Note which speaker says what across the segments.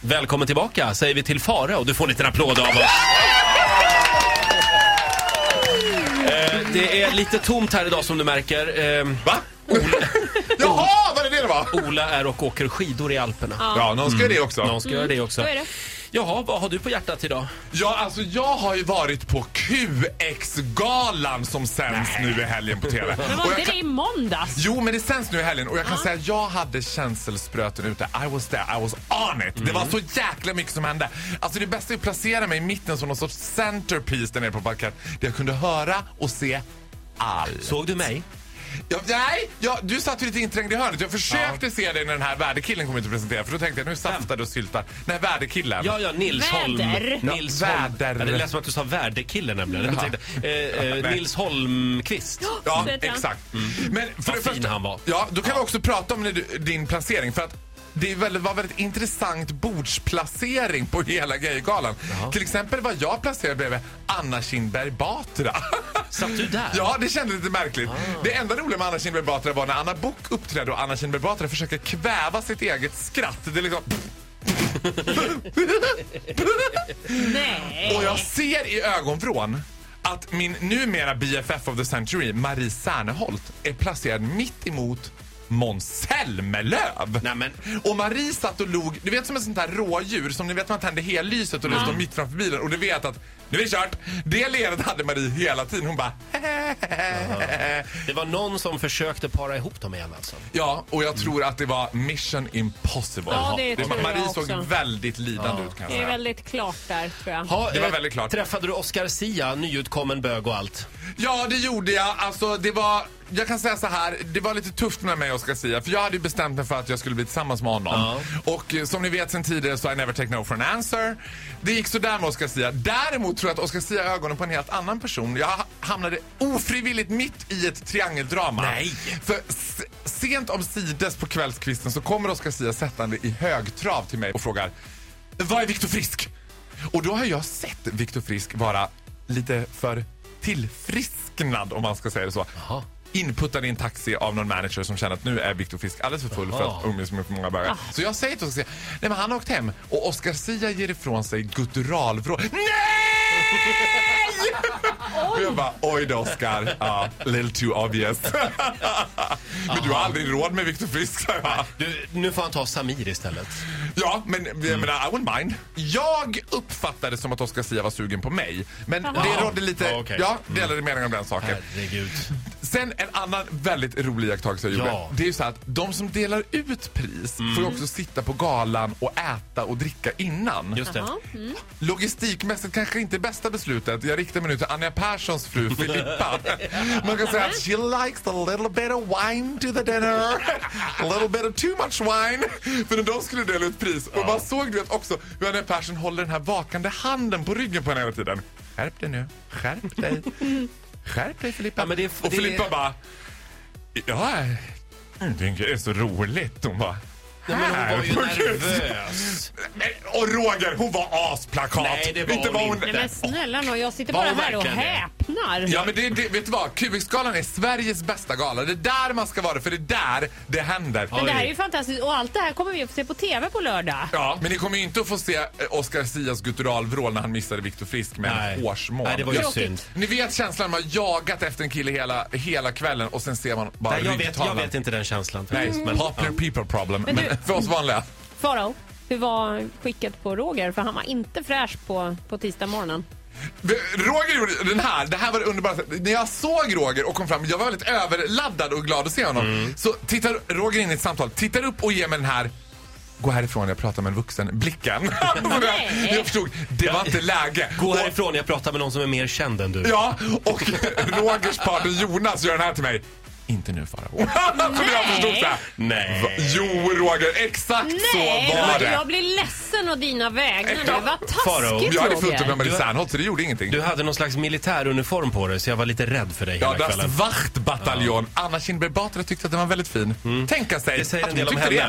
Speaker 1: Välkommen tillbaka säger vi till Farao. Du får en liten applåd av oss. Eh, Det är lite tomt här idag som du märker. Eh,
Speaker 2: Va? Jaha, var det det det var?
Speaker 1: Ola är och åker skidor i Alperna.
Speaker 2: Ja, någon ska ju det också.
Speaker 3: Mm.
Speaker 1: Någon ska göra det också.
Speaker 3: så är det.
Speaker 1: Jaha, vad har du på hjärtat idag?
Speaker 2: Ja, alltså jag har ju varit på QX-galan som sänds nu i helgen på TV.
Speaker 3: Men
Speaker 2: Och
Speaker 3: var
Speaker 2: jag
Speaker 3: inte
Speaker 2: kan...
Speaker 3: det i måndags?
Speaker 2: Jo, men det sänds nu i helgen och jag kan säga att jag hade känselspröten ute. I was there, I was on it. Det var
Speaker 3: Mm.
Speaker 2: så jäkla mycket som hände. Alltså det bästa är att placera mig i mitten som någon sorts centerpiece där nere på parkett. Där jag kunde höra och se allt.
Speaker 1: Såg du mig?
Speaker 2: Ja, nej, ja, du satt ju lite inträngd i hörnet. Jag försökte se dig när den här värdekillen kom ut och presenterade. För då tänkte jag, nu saftar du och syltar. Den här värdekillen.
Speaker 1: Ja, ja, Nils Holm.
Speaker 3: Väder.
Speaker 1: Nils
Speaker 2: Ja,
Speaker 1: Holm.
Speaker 2: väder.
Speaker 1: Ja, det lät som att du sa värdekille nämligen. Jag
Speaker 2: Jaha.
Speaker 1: tänkte, eh, eh,
Speaker 2: Nej.
Speaker 1: Nils Holmqvist.
Speaker 2: Ja,
Speaker 3: Söt han.
Speaker 2: exakt. Men för
Speaker 1: Mm. Vad
Speaker 2: det
Speaker 1: fin
Speaker 2: första,
Speaker 1: han var.
Speaker 2: Ja, då kan vi också prata om det- din placering. För att det är väldigt- var väldigt intressant bordsplacering på hela Gaygalan. Till exempel var jag placerad bredvid Anna Kinberg Batra.
Speaker 1: Satt du där?
Speaker 2: Ja, det kändes lite
Speaker 1: Ah.
Speaker 2: märkligt. Det enda roliga med Anna Kinberg Batra var när Anna Bok uppträdde och Anna Kinberg Batra försöker kväva sitt eget skratt. Det är liksom...
Speaker 3: Nej.
Speaker 2: Och jag ser i ögonvrån att min numera BFF of the century, Marie Serneholt, är placerad mitt emot Måns Zelmerlöw.
Speaker 1: Nej, men-
Speaker 2: Och Marie satt och log, du vet som ett sånt här rådjur som ni vet man tänder hellyset och det står mitt framför bilen och du vet att nu är det kört. Det leendet hade Marie hela tiden. Hon bara
Speaker 1: Det var någon som försökte para ihop dem igen alltså.
Speaker 2: Ja, och jag tror att det var mission impossible.
Speaker 3: Ja, det tror jag
Speaker 2: Marie
Speaker 3: också.
Speaker 2: såg väldigt lidande ut kan jag
Speaker 3: Det är
Speaker 2: säga. eh,
Speaker 3: väldigt klart där tror jag.
Speaker 1: Ha,
Speaker 2: Det var väldigt klart.
Speaker 1: Träffade du Oscar Sia, nyutkommen bög och allt?
Speaker 2: Ja, det gjorde jag. Alltså, det var... Jag kan säga så här, det var lite tufft med mig och Oscar Sia för jag hade ju bestämt mig för att jag skulle bli tillsammans med honom. Och eh, som ni vet sen tidigare så I never take no for an answer. Det gick så där med Oscar Sia. Däremot tror jag att Oscar Sia har ögonen på en helt annan person. Jag ha- hamnade ofrivilligt mitt i ett triangeldrama.
Speaker 1: Nej.
Speaker 2: För s- sent om sides på kvällskvisten så kommer Oscar Sia sättande i högtrav till mig och frågar Vad är Viktor Frisk? Och då har jag sett Viktor Frisk vara lite för tillfrisknad om man ska säga det så.
Speaker 1: Jaha.
Speaker 2: Inputtad i en taxi av någon manager som känner att nu är Viktor Frisk alldeles för full för
Speaker 1: Jaha.
Speaker 2: att umgås med för många bögar.
Speaker 1: Ah.
Speaker 2: Så jag säger till Oscar Sia, nej men han har åkt hem och Oscar Sia ger ifrån sig gutturalvrål. Nej! Och jag bara, oj då Oscar. Ja, little too obvious. men du har aldrig råd med Viktor Frisk, sa jag.
Speaker 1: Du, nu får han ta Samir istället.
Speaker 2: Ja, men jag menar, I wouldn't mind. Jag uppfattade som att Oscar Sia var sugen på mig. Men det rådde lite...
Speaker 1: Ja, okej. Mm.
Speaker 2: Ja, delade meningar om den saken.
Speaker 1: Herregud.
Speaker 2: Sen en annan väldigt rolig iakttagelse jag gjorde.
Speaker 1: Ja. Mm.
Speaker 2: Det är ju så här att de som delar ut pris får ju också sitta på galan och äta och dricka innan.
Speaker 1: Just det.
Speaker 3: Ja.
Speaker 2: Logistikmässigt kanske inte bästa beslutet. Jag riktar mig nu till Anja Perssons fru Filippa. Man kan säga att she likes a little bit of wine to the dinner. A little bit of too much wine. För när de skulle dela ut pris. Och man såg du vet också hur Anja Persson håller den här vakande handen på ryggen på henne hela tiden. Skärp dig nu. Skärp dig. Skärp dig Filippa.
Speaker 1: Ja, men det är-
Speaker 2: och
Speaker 1: det är-
Speaker 2: Filippa bara. Ja, jag tycker det är så roligt. Hon bara.
Speaker 1: Nej, men hon var ju
Speaker 2: "Här, på Gud."
Speaker 1: nervös.
Speaker 2: Nej, Och Roger, hon var asplakat.
Speaker 1: Nej, det var
Speaker 2: Inte var
Speaker 1: hon
Speaker 2: hon
Speaker 1: inte.
Speaker 3: Nej men snälla nå, jag sitter
Speaker 1: Var
Speaker 3: bara
Speaker 1: hon
Speaker 3: här och
Speaker 1: verkligen det?
Speaker 3: häpnar.
Speaker 2: Ja men det, det, vet du vad? QX-galan är Sveriges bästa gala. Det är där man ska vara för det är där det händer.
Speaker 3: Men det här
Speaker 1: Oj.
Speaker 3: är ju fantastiskt och allt det här kommer vi att få se på TV på lördag.
Speaker 2: Ja, men ni kommer ju inte att få se eh, Oscar Sias gutturalvrål när han missade Viktor Frisk med
Speaker 1: Nej.
Speaker 2: en hårsmån.
Speaker 1: Nej, det var ju
Speaker 2: Jag-
Speaker 1: synd.
Speaker 2: Ni vet känslan man jagat efter en kille hela, hela kvällen och sen ser man bara
Speaker 1: Nej, jag, vet, jag
Speaker 2: ryggtavlan.
Speaker 1: vet inte den känslan
Speaker 2: Nej,
Speaker 1: faktiskt. Men,
Speaker 2: popular people problem. Men
Speaker 3: Men du-
Speaker 2: för oss vanliga.
Speaker 3: Farao, hur var skicket på Roger? För han var inte fräsch på, på tisdag morgonen.
Speaker 2: Roger gjorde den här, det här var det underbara. När jag såg Roger och kom fram, jag var väldigt överladdad och glad att se honom.
Speaker 1: Mm.
Speaker 2: Så tittar Roger in i ett samtal, tittar upp och ger mig den här Gå härifrån, jag pratar med en vuxen. Blicken. Så jag, jag förstod, det var inte läge.
Speaker 1: gå
Speaker 2: Och-
Speaker 1: härifrån, jag pratar med någon som är mer känd än du.
Speaker 2: Ja, och Rogers partner Jonas gör den här till mig. Inte nu Farao. Som jag förstod så här.
Speaker 1: Nej.
Speaker 2: Va- Jo Roger, exakt
Speaker 3: Nej,
Speaker 2: så var
Speaker 3: Roger,
Speaker 2: det.
Speaker 3: jag blir ledsen och dina vägnar
Speaker 2: Ja,
Speaker 3: nu. Vad
Speaker 1: Farao,
Speaker 3: taskigt
Speaker 2: Jag hade fullt upp med
Speaker 3: Roger.
Speaker 2: Marie
Speaker 1: Du-
Speaker 2: Serneholt så det gjorde ingenting.
Speaker 1: Du hade någon slags militäruniform på dig så jag var lite rädd för dig
Speaker 2: Ja,
Speaker 1: hela
Speaker 2: Das
Speaker 1: kvällen.
Speaker 2: Wachtbataljon. Anna Kinberg Batra tyckte att den var väldigt fin. Tänka sig
Speaker 1: Mm. Det säger
Speaker 2: att
Speaker 1: en del
Speaker 2: hon
Speaker 1: om
Speaker 2: tyckte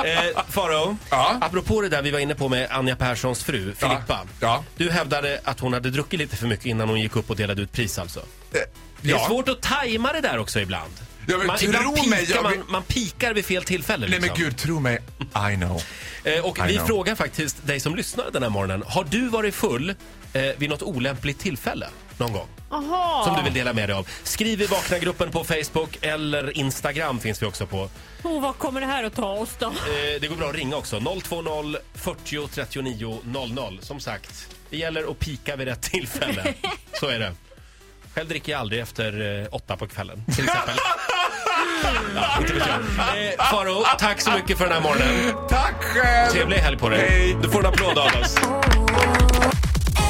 Speaker 1: henne. Eh, Farao,
Speaker 2: Ja.
Speaker 1: apropå det där vi var inne på med Anja Perssons fru, Filippa.
Speaker 2: Ja.
Speaker 1: Du hävdade att hon hade druckit lite för mycket innan hon gick upp och delade ut pris alltså.
Speaker 2: det. Eh,
Speaker 1: Det är
Speaker 2: Ja.
Speaker 1: svårt att tajma det där också ibland.
Speaker 2: Ja, men
Speaker 1: Man,
Speaker 2: tro
Speaker 1: ibland
Speaker 2: mig,
Speaker 1: pikar
Speaker 2: jag
Speaker 1: man,
Speaker 2: vill-
Speaker 1: man pikar vid fel tillfälle.
Speaker 2: Nej men
Speaker 1: liksom.
Speaker 2: gud, tro mig. I know.
Speaker 1: Eh, Och
Speaker 2: I
Speaker 1: vi
Speaker 2: know.
Speaker 1: frågar faktiskt dig som lyssnar den här morgonen. Har du varit full eh, vid något olämpligt tillfälle någon gång?
Speaker 4: Aha.
Speaker 1: Som du vill dela med dig av. Skriv i Vakna-gruppen på Facebook eller Instagram finns vi också på. Eh,
Speaker 4: Oh, vad kommer det här att ta oss då?
Speaker 1: det går bra att ringa också. 020 40 39 00. Som sagt, det gäller att pika vid rätt tillfälle. Så är det. Själv dricker jag aldrig efter eh, åtta på kvällen. Till exempel. ja, inte vet jag. Eh, Faro, tack så mycket för den här morgonen.
Speaker 2: Tack själv!
Speaker 1: Trevlig helg på dig.
Speaker 2: Hej.
Speaker 1: Du får en applåd av oss.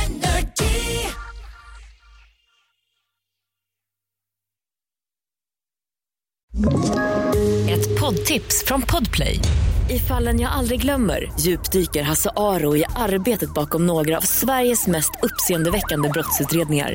Speaker 5: energy.
Speaker 3: Ett poddtips från Podplay. I fallen jag aldrig glömmer djupdyker Hasse Aro i arbetet bakom några av Sveriges mest uppseendeväckande brottsutredningar.